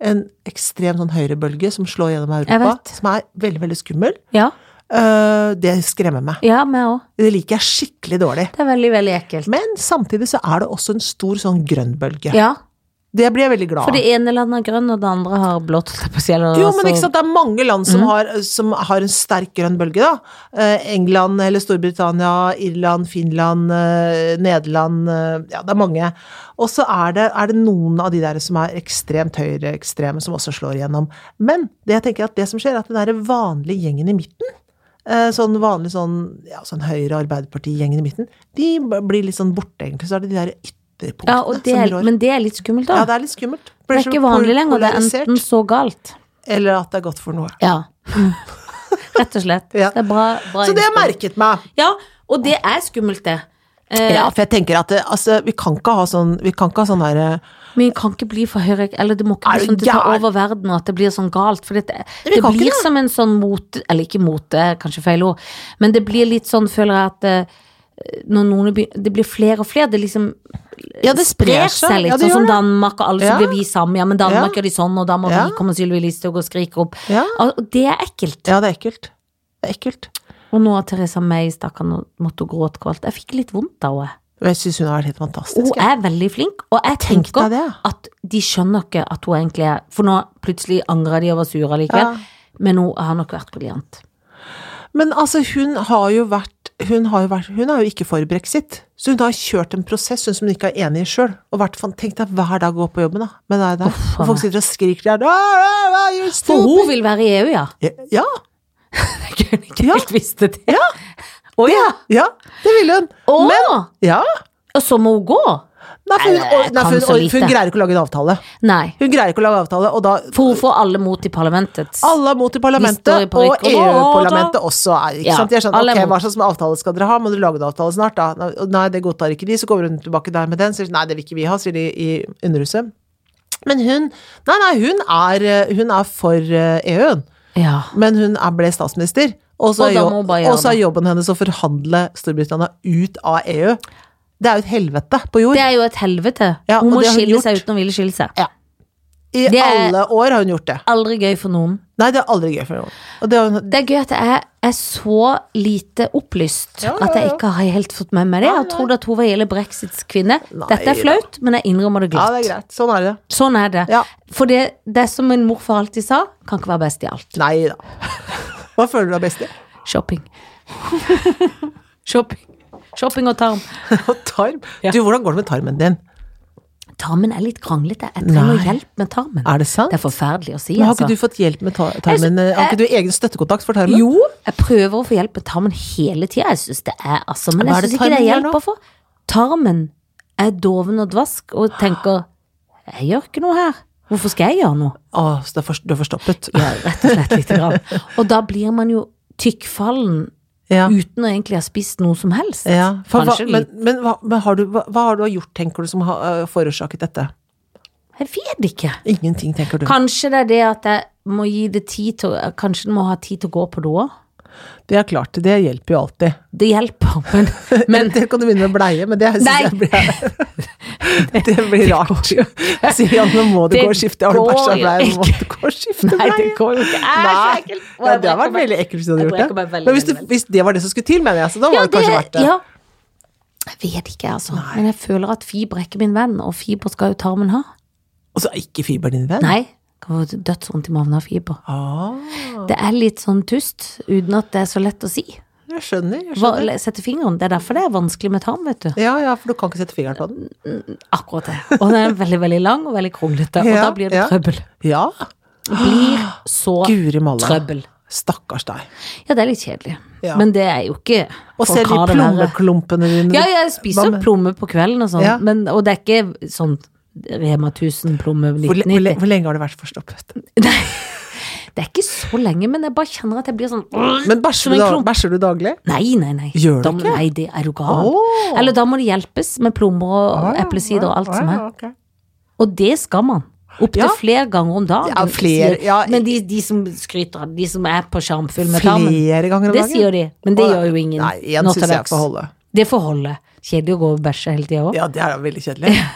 en ekstrem sånn høyrebølge som slår gjennom Jeg Europa, vet. som er veldig, veldig skummel. Ja, Eh, det skremmer meg. ja meg òg. Det liker jeg skikkelig dårlig. Det er veldig, veldig ekkelt. Men samtidig så er det også en stor sånn grønn bølge. Ja, Det blir jeg veldig glad for det ene landet er grønn, og det andre har blått. holdt jeg på å si, eller Jo, altså- men ikke sant, det er mange land Mm. som, har, som har en sterk grønn bølge, da. Eh, England eller Storbritannia, Irland, Finland, eh, Nederland eh, Ja, det er mange. Og så er det, er det noen av de der som er ekstremt høyreekstreme, som også slår igjennom. Men det jeg tenker at det som skjer, er at den derre vanlige gjengen i midten eh, Sånn vanlig sånn, ja, sånn Høyre- og Arbeiderparti-gjengen i midten, de b- blir litt sånn borte, egentlig. Så er det de der ytterpunktene Ja, og det som er, rår. men det er litt skummelt, da. ja, det, det er litt skummelt. er, Blir så ikke vanlig pol- lenger. Det er polarisert, enten så galt. Eller at det er godt for noe. Ja. Rett og slett. Ja. Det er bra, bra Så det har jeg innspill. merket meg. Ja, og det er skummelt, det. Eh, Ja, for jeg tenker at det, altså, vi kan ikke ha sånn Vi kan ikke ha sånn derre Men vi kan ikke bli for høyre Eller det må ikke Er du bli sånn at det tar gæren? over verden Og at det blir sånn galt For det, vi det kan ikke blir det. som en sånn mote Eller ikke mote, kanskje feil ord Men det blir litt sånn, føler jeg at eh, Når noen begynner Det blir flere og flere Det liksom Ja, det sprer seg. litt Ja, det gjør Sånn som det. Danmark Og alle Ja. så blir vi sammen Ja, men Danmark Ja. gjør de sånn Og da må Ja. vi komme Sylvie Listhaug og skrike opp ja. Og det er ekkelt ja, det er ekkelt. Det er ekkelt. Og nå har Theresa May stakkeren nå måtte hun gråte kvalt Jeg fikk litt vondt av henne Og jeg syns hun har vært helt fantastisk. Hun jeg. er veldig flink, og jeg Tenk tenker deg det. at de skjønner ikke at hun egentlig er For nå plutselig angrer de og var sure likevel. Ja. Men hun har nok vært briljant. Men altså, hun har jo vært hun, har jo vært hun er jo ikke for brexit, så hun har kjørt en prosess hun som hun ikke er enig i sjøl. Og vært fan- Tenk deg hver dag å gå på jobben, da. Men det er der. faen. Og folk sitter og skriker der. «Ah, ah, ah, you're For stupid!» hun vil være i EU, ja. Ja, Jeg kunne ikke Ja. helt visst det. Ja. Å ja. ja, det ville hun. Å, Ja. og så må hun gå? Nei, for hun, Nei, jeg nei, for kan hun, så for hun lite. greier ikke å lage en avtale. Nei. Hun greier ikke å lage avtale, og da For hun får alle mot i parlamentet. Alle er mot i De står i parlamentet, og parykk og nå, EU-parlamentet også er ikke Ja, sant? De er sånn, alle er ok, mot. Hva slags avtale skal dere ha, må dere lage en avtale snart, da? Nei, det godtar ikke de, så kommer hun tilbake der med den, sier nei, det vil ikke vi ha, sier de i Underhuset. Men hun Nei, nei, hun er, eh, hun er for eh, EU, hun. Ja. men hun er, ble statsminister. Og så Og er da jo- må hun bare gjøre og så er det. jobben hennes å forhandle Storbritannia ut av EU. Det er jo et helvete på jord. Det er jo et helvete. Ja, hun og må det har hun skille seg gjort. uten å ville skille seg. Ja. I det er- alle år har hun gjort det. Aldri gøy for noen. Nei, det er aldri gøy for noen. Og det har hun Det er gøy at jeg er så lite opplyst Ja, ja, at jeg ja. ikke har helt fått med meg det. Jeg Nei, nei. trodde at hun var hele brexits kvinne. Nei Dette da. er flaut, men jeg innrømmer det Ja, glatt. det er greit. Sånn er det. Sånn er det. Ja. For det, det som min morfar alltid sa, kan ikke være best i alt. Nei da. Hva føler du er best i? Shopping. Shopping. Shopping og tarm. Tarm? Ja. Du, hvordan går det med tarmen din? Tarmen er litt kranglete. Jeg trenger Nei. hjelp med tarmen. Er det sant? Det er forferdelig å si, Men har altså. ikke du fått hjelp med ta- tarmen? eh, Jeg- Har ikke du egen støttekontakt for tarmen? Jo, jeg prøver å få hjelp med tarmen hele tida. Jeg syns det er altså Hva Men er jeg det syns ikke det tarmen er gjør hjelp nå? å få. Tarmen er doven og dvask Ah. og tenker Jeg gjør ikke noe her. Hvorfor skal jeg gjøre noe? Å, så det er for, du er forstoppet. Ja, rett og slett lite grann. Og da blir man jo tykkfallen Ja. uten å egentlig ha spist noe som helst. ja. For, hva, Kanskje men litt. men hva, men har du, hva, hva har du gjort, tenker du, som har øh, forårsaket dette? Jeg vet ikke. Ingenting, tenker du. Kanskje det er det at jeg må gi det tid til å- Kanskje den må ha tid til å gå på do òg. Det er klart, det hjelper jo alltid. Det hjelper, men, men Eventuelt kan du begynne med bleie, men det syns Nei. jeg blir Det blir rart. Sier han, nå må du Det gå og skifte. Har du går bæsja jo bleie, nå må ikke. du gå og skifte Nei, bleie. det går jo ikke. Æsj, så Nei. ekkelt. Og Ja, det jeg hadde brekker meg. vært veldig ekkelt hvis du hadde Jeg gjort brekker meg det. veldig, Men hvis, du, veldig, veldig. hvis det var det som skulle til, mener jeg, så da var det kanskje verdt det. Ja. Jeg vet ikke, altså. Men jeg føler at fiber er ikke min venn, og fiber skal jo tarmen ha. Og så er ikke fiberen din venn? Nei. jeg Kan få dødsvondt i magen av fiber. Ah, Det er litt sånn tust, uten at det er så lett å si. jeg skjønner. Jeg Hva- skjønner. Sette fingeren. Det er derfor det er vanskelig med tarm, vet du. Ja, ja, for du kan ikke sette fingeren på den. Akkurat det. Og den er veldig, veldig lang og veldig kronglete, og Ja, da blir det ja. trøbbel. Ja. Blir så Guri malla. trøbbel. Stakkars deg. Ja, det er litt kjedelig. Ja. Men det er jo ikke Og folk se de har det verre. plommeklumpene dine. Ja, jeg spiser Hva med- plomme på kvelden og sånn, Ja. men, og det er ikke sånn Rema 1000 plomme Hvor, le- hvor, le- 1990. hvor lenge har du vært forstoppet? Det er ikke så lenge, men jeg bare kjenner at jeg blir sånn Men Som bæsjer en du, da, klump. bæsjer du daglig? Nei, nei, nei. Gjør da, du må- ikke? Nei, det er du gal. Åh. Ah, Eller da må det hjelpes med plommer og eplesider og alt som er. er. Og det skal man. Opptil Ja. flere ganger om dagen. Ja, flere, sier- ja. Men de, de som skryter av det, de som er på sjarmfull med tarmen, Flere ganger om dagen? det sier de. Men det Åh, gjør jo ingen. Nei, én nå til syns jeg altså. dags. får holde. Det får holde. Kjedelig å gå og bæsje hele tida òg. Ja, det er da veldig kjedelig.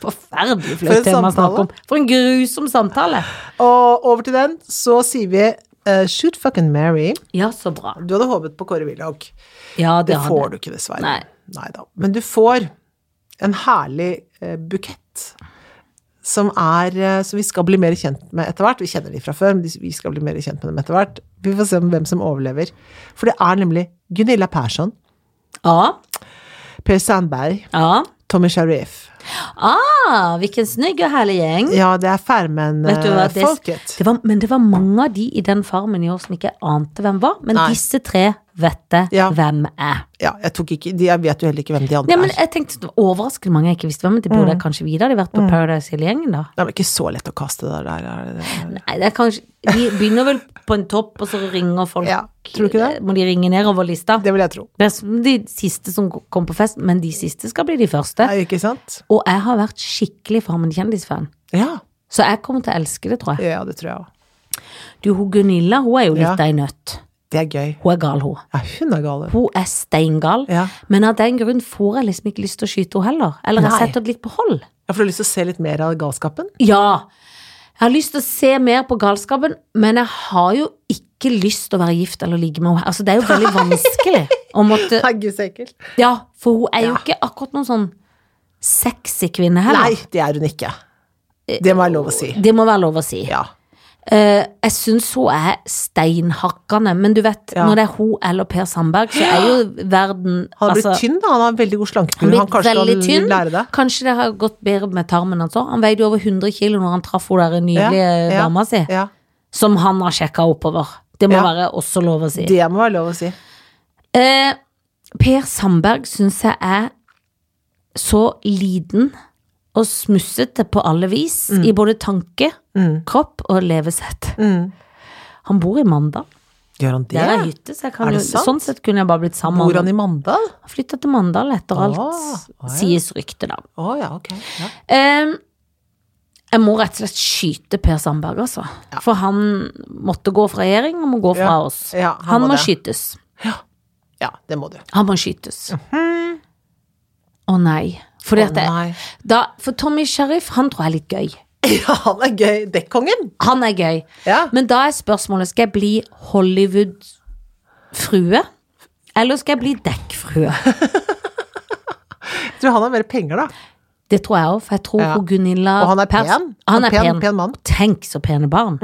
Forferdelig For flaut en tema å snakke samtale. om. For en grusom samtale. Og over til den så sier vi eh, shoot fucking Mary. Ja, så bra. Du hadde håpet på Kåre Willoch. Ja, det, Det hadde får jeg. du ikke, dessverre. Nei. Neida. Men du får en herlig eh, bukett som, er, eh, som vi skal bli mer kjent med etter hvert. Vi kjenner de fra før, men de- vi skal bli mer kjent med dem etter hvert. Vi får se om hvem som overlever. For det er nemlig Gunilla Persson, Ja. Per Sandberg, ja. Tommy Sharif. Ah, hvilken snygg og herlig gjeng. Ja, det er Farmen Vet du hva, eh, det- folket. Det var, men det var mange av de i den farmen i år som ikke ante hvem var. Men Nei. disse tre vet det Ja. hvem er. Ja, jeg tok ikke de, Jeg vet jo heller ikke hvem de andre Nei, men er. jeg tenkte det var Overraskende mange jeg ikke visste hvem, men det Mm. burde jeg kanskje vite. Hadde de vært på Paradise hele gjengen, da? Det er ikke så lett å kaste det der. Er det? Nei, det er kanskje, De begynner vel på en topp, og så ringer folk Ja, tror du ikke det? Må de ringe nedover lista? det vil jeg tro. Det er som de siste som kom på fest, men de siste skal bli de første. Nei, ikke sant? Og jeg har vært skikkelig Farmen kjendisfan. Ja, Så jeg kommer til å elske det, tror jeg. ja det tror jeg òg. Du, hun Gunilla hun er jo litt Ja. ei nøtt. Det er gøy. Hun er gal, hun. Ja, hun er gal. hun. Hun er steingal. Ja. Men av den grunn får jeg liksom ikke lyst til å skyte henne heller. Eller jeg Nei. setter det litt på hold. Ja, for du har lyst til å se litt mer av galskapen? Ja. Jeg har lyst til å se mer på galskapen, men jeg har jo ikke lyst til å være gift eller ligge med henne. Altså, det er jo veldig vanskelig å måtte Nei, gud, så ekkelt. Ja, for hun er jo Ja. ikke akkurat noen sånn sexy kvinne heller. Nei, det er hun ikke. Det må jeg lov å si. Det må være lov å si. Ja. Eh, jeg syns hun er steinhakkende, men du vet, Ja. når det er hun eller Per Sandberg, så er jo verden Han har blitt altså, tynn, da. Han har en veldig god Han slankekur. er Han blitt kanskje veldig skal tynn. lære det. Kanskje det har gått bedre med tarmen hans òg. Han veide jo over 100 kilo når han traff hun der nydelige Ja, ja, dama si, Ja. som han har sjekka oppover. Det må Ja. være også lov å si. Det må være lov å si. Eh, per Sandberg syns jeg er så liten og smussete på alle vis, i både tanke, Mm. kropp og levesett. Mm. Han bor i Mandal. Gjør han det? Der er hytte, så jeg kan Er jo, det sant? sånn sett kunne jeg bare blitt sammen Bor han med i Mandal? han. Flytta til Mandal etter Ah, alt, ah, ja. sies ryktet, da. Å ja, ok. Ja. Ehm, jeg må rett og slett skyte Per Sandberg, altså. For han måtte gå fra regjering og må gå fra Ja. oss. Ja, han han må må, det. skytes. ja, det må du. Han må skytes. Å nei. For, Mhm. Å, nei. da, for Tommy Sheriff, han tror jeg er litt gøy. Ja, han er gøy. Dekkongen. Han er gøy. Ja. Men da er spørsmålet, skal jeg bli Hollywood-frue? Eller skal jeg bli dekkfrue? Jeg tror han har mer penger, da. Det tror jeg òg, for jeg tror Ja. hun Gunilla Og han er Pers- pen. Han er pen. pen mann. Mm. Tenk så pene barn.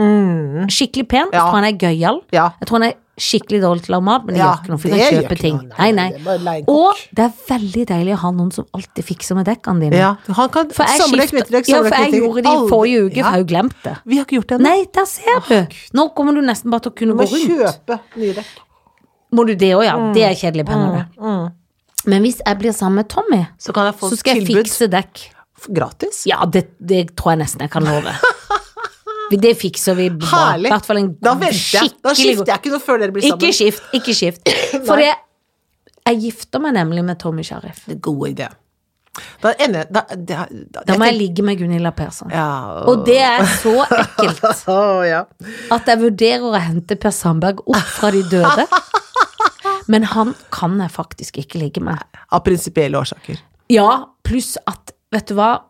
Skikkelig pen. Jeg Ja. tror han er gøyal. Ja. Jeg tror han er skikkelig dårlig til å lage mat, men det Ja, gjør ikke noe, for det han gjør kjøper ikke ting. noe. Nei, Nei, nei. det er bare å leie en kokk. Og det er veldig deilig å ha noen som alltid fikser med dekkene dine. Ja, han kan For jeg, samle skifter- knyttdrekk, ja, samle for jeg knyttdrekk. gjorde det i Aldri- forrige uke, for jeg Ja. har jo glemt det. Vi har ikke gjort det ennå. Nei, der ser du! Nå kommer du nesten bare til å kunne Vi må gå rundt. kjøpe Mm. nye dekk. Må du det òg, ja? Det er kjedelig penger, det. Men hvis jeg blir sammen med Tommy, Så kan jeg mm. få så skal jeg tilbud fikse dekk. gratis. Ja, det, det tror jeg nesten jeg kan love. Det fikser vi bra. Herlig. I hvert fall en Da venter jeg. Da skikkelig god- skifter jeg ikke noe før dere blir sammen. Ikke skift, ikke skift. For jeg, jeg gifter meg nemlig med Tommy Sharif. Det er god idé. Da ender jeg Da, da, da, Da jeg må jeg tenker- ligge med Gunilla Persson. ja, Og det er så ekkelt Å, ja. at jeg vurderer å hente Per Sandberg opp fra de døde. Men han kan jeg faktisk ikke ligge med. Av prinsipielle årsaker. Ja, pluss at, vet du hva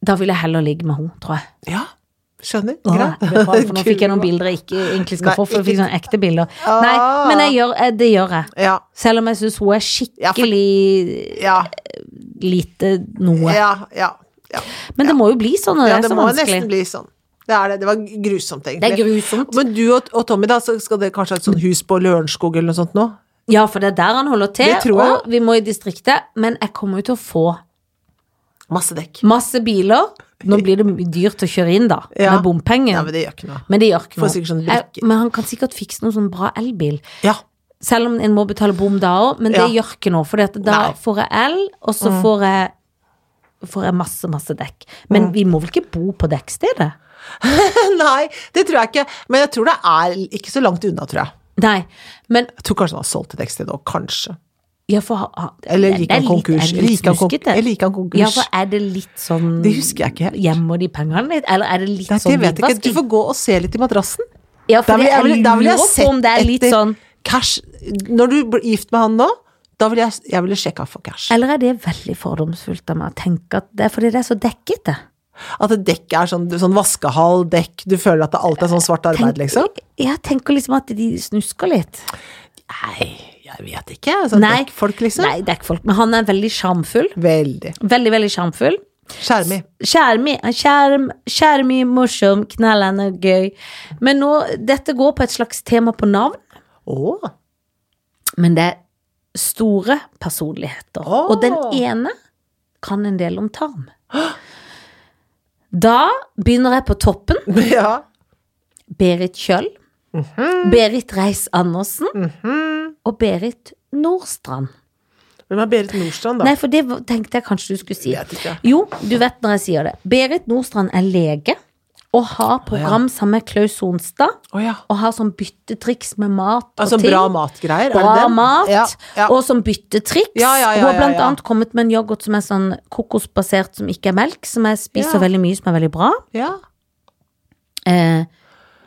Da vil jeg heller ligge med henne, tror jeg. Ja, skjønner. Åh, Greit. jeg ble redd, for nå fikk jeg noen bilder jeg ikke egentlig skal Nei, få, for jeg fikk ikke- sånne ekte bilder. Ah. Nei, men jeg gjør, eh, det gjør jeg. Ja, Selv om jeg syns hun er Ja, for- skikkelig ja, lite noe. ja, ja, ja. Men det må jo bli sånn når ja det det er så må vanskelig. nesten bli sånn. Det er det. Det var grusomt, Det er egentlig. grusomt. Men du og, og Tommy, da, så skal dere kanskje ha et sånt hus på Lørenskog eller noe sånt nå? Ja, for det er der han holder til, Det tror jeg. og vi må i distriktet. Men jeg kommer jo til å få Masse dekk. masse biler. Nå blir det dyrt å kjøre inn, da, Ja. med bompenger. Ja, men men, det gjør ikke noe. det, gjør Får ikke noe. sikkert sånn jeg, brikker. men han kan sikkert fikse noen sånn bra elbil. Ja. Selv om en må betale bom da òg, men det Ja. gjør ikke noe. For da Nei. Mm. får jeg el, og så får jeg Får jeg masse, masse dekk. Mm. Men vi må vel ikke bo på dekkstedet? Nei, det tror jeg ikke. Men jeg tror det er ikke så langt unna, tror jeg. Nei, men Jeg tror kanskje han har solgt et dekksted òg, kanskje. ja, for, ha- ha- Eller det- gikk det er han litt- konkurs? er det litt Gikk han konk- snuskete? eller gikk han konkurs? Ja, for er det litt sånn Det husker jeg ikke helt. Gjemmer de pengene litt? Eller er det litt Nei, sånn det vet jeg ikke. hvitvasking? Du får gå og se litt i madrassen. Ja, for Der vil jeg, jeg, der vil jeg lurer på om sett det er litt etter sånn cash Når du blir gift med han nå, Da ville jeg, jeg ville sjekka for cash. Eller er det veldig fordomsfullt av meg å tenke at det er fordi det er så dekkete? At et dekk er sånn, sånn vaskehall, dekk, du føler at det alt er sånn svart Tenk- arbeid, liksom? Jeg tenker liksom at de snusker litt. Nei, jeg vet ikke. Sånn Nei. dekkfolk, liksom. Nei, det er ikke folk, men han er veldig sjarmfull. Veldig. Veldig, veldig sjarmfull. Skjermig. Skjermi, skjerm, skjermi, morsom, knallende, gøy. Men nå, dette går på et slags tema på navn, Å, men det er store personligheter. Åh. Og den ene kan en del om tarm. Da begynner jeg på toppen. ja. Berit Kjøll. Mhm. Berit Reiss-Andersen. Og Berit Nordstrand. Hvem er Berit Nordstrand, da? Nei, for det var- tenkte jeg kanskje du skulle si. Vet ikke. Jo, du vet når jeg sier det. Berit Nordstrand er lege og har program sammen med Klaus Sonstad. Å ja. Og har sånn byttetriks med mat og Altså ting. bra matgreier? er det Bra den? mat, Ja, ja. og som byttetriks. Ja, ja, ja, Hun har ja, blant ja. annet kommet med en yoghurt som er sånn kokosbasert, som ikke er melk, som jeg spiser Ja. veldig mye, som er veldig bra. ja. Eh,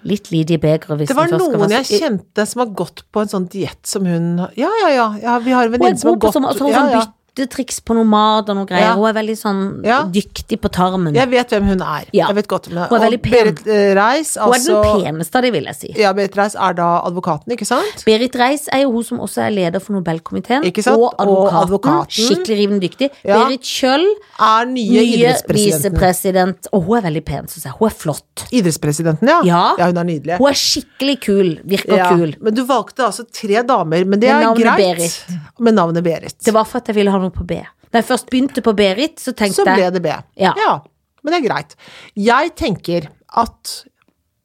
litt lite i begeret hvis Det var den først skal noen være- jeg kjente som har gått på en sånn diett som hun Ja, ja, ja. ja vi har en Hun er venninne som god har på gått sånn, sånn, ja, sånn ja. byttetriks på noe mat og noe greier. Ja. Hun er veldig sånn Ja. dyktig på tarmen. Jeg vet hvem hun er. Ja. Jeg vet godt hvem hun er. Hun er veldig Og Berit eh, Reiss, Hun er altså den peneste av de, vil jeg si. Ja, Berit Reiss er da advokaten, ikke sant? Berit Reiss er jo hun som også er leder for Nobelkomiteen. Ikke sant? Og advokaten. Og advokaten. Skikkelig rivende dyktig. Ja. Berit Kjøll, Er nye, nye idrettspresidenten. visepresident. Og hun er veldig pen, syns jeg. Hun er flott. Idrettspresidenten, ja. Ja. ja. Hun er nydelig. Hun er skikkelig kul. Virker ja. kul. Men du valgte altså tre damer, men det Med er navnet greit. Berit. Med navnet Berit. Det var for at jeg ville ha noe på B. Da jeg først begynte på Berit, så Så tenkte ble jeg det B. Ja. Men det er greit. Jeg tenker at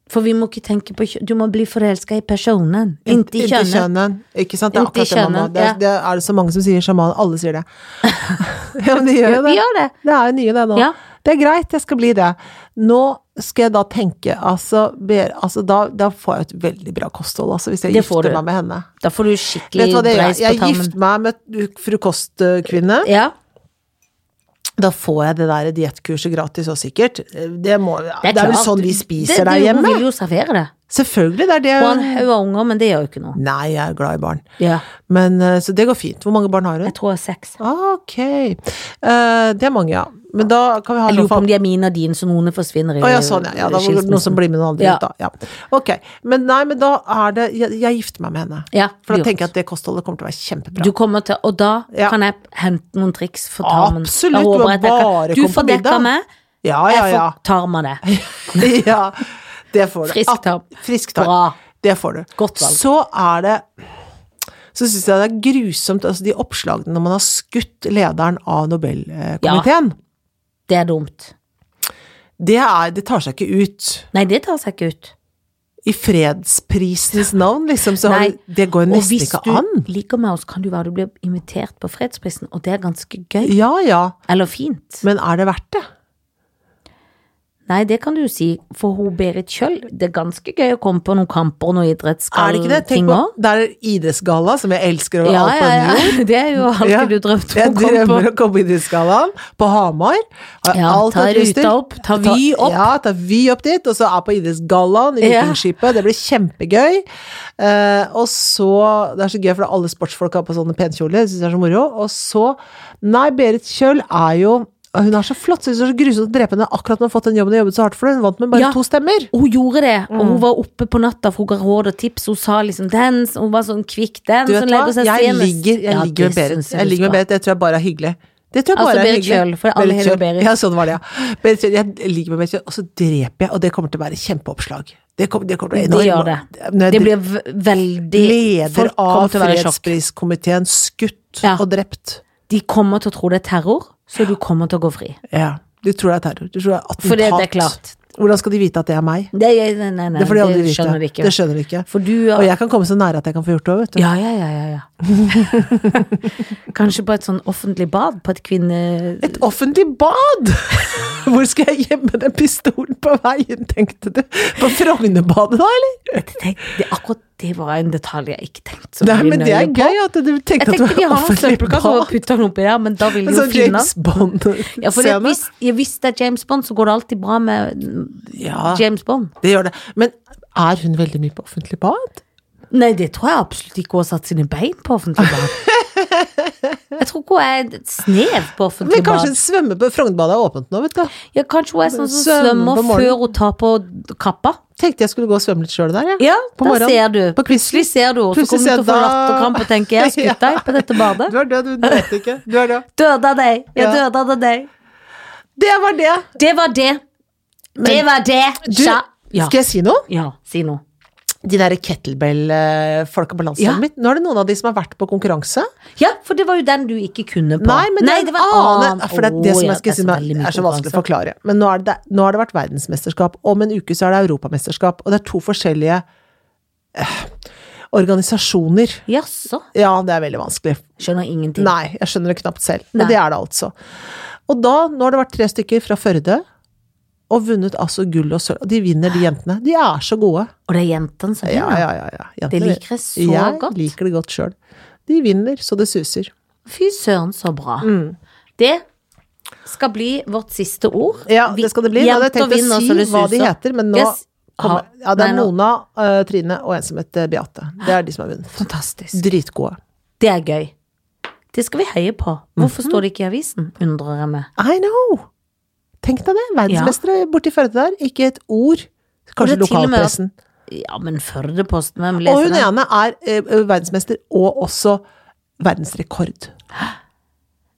For vi må ikke tenke på kjønn. Du må bli forelska i personen, ikke i Inntil kjønnet. kjønnen. Ikke sant? Det er Inntil akkurat det, mamma. kjønnen, Det, ja. er- det er det så mange som sier sjaman. Alle sier det. ja, men de gjør jo Vi det. gjør det. Det er jo nye, det nå. Ja. Det er greit, jeg skal bli det. Nå skal jeg da tenke, altså, ber, altså da, da får jeg et veldig bra kosthold, altså, hvis jeg Det får gifter du. meg med henne. Da får du Vet skikkelig du hva det gjør? dreis på Jeg tarmen. gifter meg med fru Kost-kvinne. Ja. Da får jeg det der diettkurset gratis også, sikkert. Det, må, det, er, vel klart. sånn vi Det- spiser det- der hjemme? Hun vil jo servere det. Selvfølgelig, det er det. Og han haug av unger, men det gjør jo ikke noe. Nei, jeg er glad i barn. Ja. Men, eh, så det går fint. Hvor mange barn har hun? Ah, Jeg tror jeg er seks. Ok. Eh, det er mange, ja. Men da kan vi ha Jeg noe lurer på om for... de er mine og dine, så noen forsvinner i Å ja, sånn, ja. ja da var det noen som blir med noen andre Ja. ut, da. Ja. Ok. Men nei, men da er det Jeg, jeg gifter meg med henne. Ja, For du da tenker gjør jeg at det kostholdet kommer til å være kjempebra. Du kommer til, og da Ja. kan jeg hente noen triks for tarmen. Absolutt, Da du håper har jeg at jeg kan- bare Du kommet får på dekka middag. meg, ja, ja, jeg ja. får tarm av det. ja. Det får du. Frisk At- tarm. Frisk tarm. Bra. Det får du. Godt valg. Så er det så syns jeg det er grusomt, altså de oppslagene når man har skutt lederen av Nobelkomiteen. Det er dumt. Det, er, det tar seg ikke ut. Nei, det tar seg ikke ut. I fredsprisens navn, liksom. Så har Nei. du- det går Og nesten hvis ikke du an. ligger med oss, kan du være du blir invitert på fredsprisen, og det er ganske gøy. Ja ja, Eller fint. men er det verdt det? Nei, det kan du jo si, for hun Berit Kjøll, det er ganske gøy å komme på noen kamper og noen Er det ikke det? Tenk idrettsgallting på, òg. det er idrettsgalla, som jeg elsker over Ja, alt på ja, en jord. ja. Det er jo alltid Ja. du drømte Jeg om å komme på. drømmer å komme i idrettsgallaen på Hamar. Har Ja, alt ta hatt lyst til. ruta opp, ta Vy opp. Ja, ta Vy opp dit, og så er på idrettsgallaen i Ja. Vikingskipet. Det blir kjempegøy. Eh, og så Det er så gøy, for alle sportsfolk har på sånne penkjoler. Det syns jeg er så moro. Og så Nei, Berit Kjøll er jo hun er så flott, så jeg synes det er så grusomt å drepe henne akkurat når hun har fått den jobben hun har jobbet så hardt for. Hun vant med bare Ja. to stemmer. Hun gjorde det, og Mm. hun var oppe på natta, for hun ga råd og tips. Hun sa liksom den, så hun var sånn kvikk den, Du som vet hva, legger seg jeg senest. ligger, jeg Ja, ligger med det Berit. synes jeg Jeg du ligger med skal. Berit, det tror jeg bare er hyggelig. Det tror jeg bare Altså, er Berit hyggelig. Kjøll, for alle heter jo Kjøll. Berit. Ja, sånn var det, ja. Berit Kjøll, jeg ligger med Berit Kjøll, og så dreper jeg, og det kommer til å være kjempeoppslag. Det kommer, det kommer til å Det være gjør det. enormt. Når jeg Det blir v- veldig Leder Folk kommer av til å være i sjokk. fredspriskomiteen skutt Ja. og drept. De kommer til å tro det er terror, så du kommer til å gå fri. Ja. Du tror det er terror. Du tror det er attentat. For det- det er klart. Hvordan skal de vite at det er meg? Det, nei, nei, nei, Det, får de aldri det vite. skjønner de ikke. Det skjønner de ikke. For du Og jeg kan komme så nære at jeg kan få gjort det òg, vet du. Ja, ja, ja, ja, ja. Kanskje på et sånn offentlig bad, på et kvinne... Et offentlig bad! Hvor skal jeg gjemme den pistolen på veien, tenkte du? På Frognerbadet da, eller? Tenk, det, akkurat det var en detalj jeg ikke tenkte så Nei, mye men det er nøye på. gøy at du Jeg tenkte at det var tenkte de har noen offentlig søppelkasse og bad. putter den oppi der, men da vil En jo sånn finne James den. Ja, for Bond-scene. hvis, ja, hvis det er James Bond, så går det alltid bra med Ja, James Bond. det gjør det. Men er hun veldig mye på offentlig bad? Nei, det tror jeg absolutt ikke hun har satt sine bein på offentlig bad. Jeg tror ikke hun er snev på offentlig Men kanskje bad. en svømme på Frognerbadet er åpent nå, vet du. Ja, kanskje hun er sånn som Svømmer svømmer på morgenen. før hun tar på kappa. Tenkte jeg skulle gå og svømme litt sjøl der, jeg. Ja, På da morgenen. ser du. På Quisling. Plutselig ser du henne, så Plutselig kommer du ser til å få jeg da- latterkrampe og tenke 'jeg har skutt deg på dette badet'. Du er død, du vet ikke. Du er død. Døde av deg. Jeg Ja. døde av deg. Det var det. Det var det. det var det. Du, Tja. ja. skal jeg si noe? ja, si noe. De derre kettlebell-folka på landslaget Ja. mitt. Nå er det noen av de som har vært på konkurranse. Ja, for det var jo den du ikke kunne på. Nei, men det, var en annen. For det, er det Å, som ja, jeg skal si, så nå, veldig mye er så vanskelig å konkurranse. forklare. Men nå, er det, nå har det vært verdensmesterskap. Om en uke så er det europamesterskap. Og det er to forskjellige eh, organisasjoner. Jaså. Ja, det er veldig vanskelig. Skjønner ingenting. Nei, jeg skjønner det knapt selv. Men Nei. det er det altså. Og da, nå har det vært tre stykker fra Førde, og vunnet altså gull og sølv. Og de vinner, de jentene. De er så gode. Og det er jentene som Ja, vinner. ja, ja. ja. Det Jentene- liker jeg så jeg godt. liker det godt sjøl. De vinner så det suser. Fy søren, så bra. Mm. Det skal bli vårt siste ord. Ja, Vi- det skal det bli. Nå hadde jeg jenter tenkt å vinner, si så det hva de suser. heter, men nå Yes. kommer, Ha- Ja, det er Nei, nå- Mona, eh, Trine og en som heter Beate. Det er de som har vunnet. Fantastisk. Dritgode. Det er gøy. Det skal vi heie på. Hvorfor Mhm. står det ikke i avisen, undrer jeg meg. I know! Tenk deg det. Verdensmestere borti Førde der. Ikke et ord. Kanskje det er til og med at- lokalpressen. Ja, men Førdeposten, hvem Og leser hun den? ene er eh, verdensmester og også verdensrekord.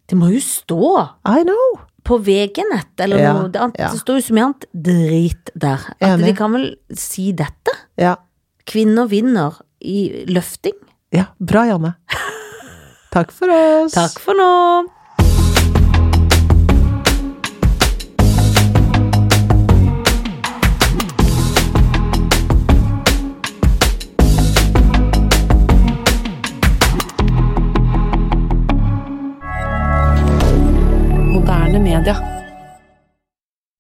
Det må jo stå I know! på VG-nett eller Ja, noe. Det, annet- ja. det står jo så mye annet drit der. At Enig. de kan vel si dette? Ja. Kvinner vinner i løfting. ja. Bra, Janne. Takk for oss. Takk for nå.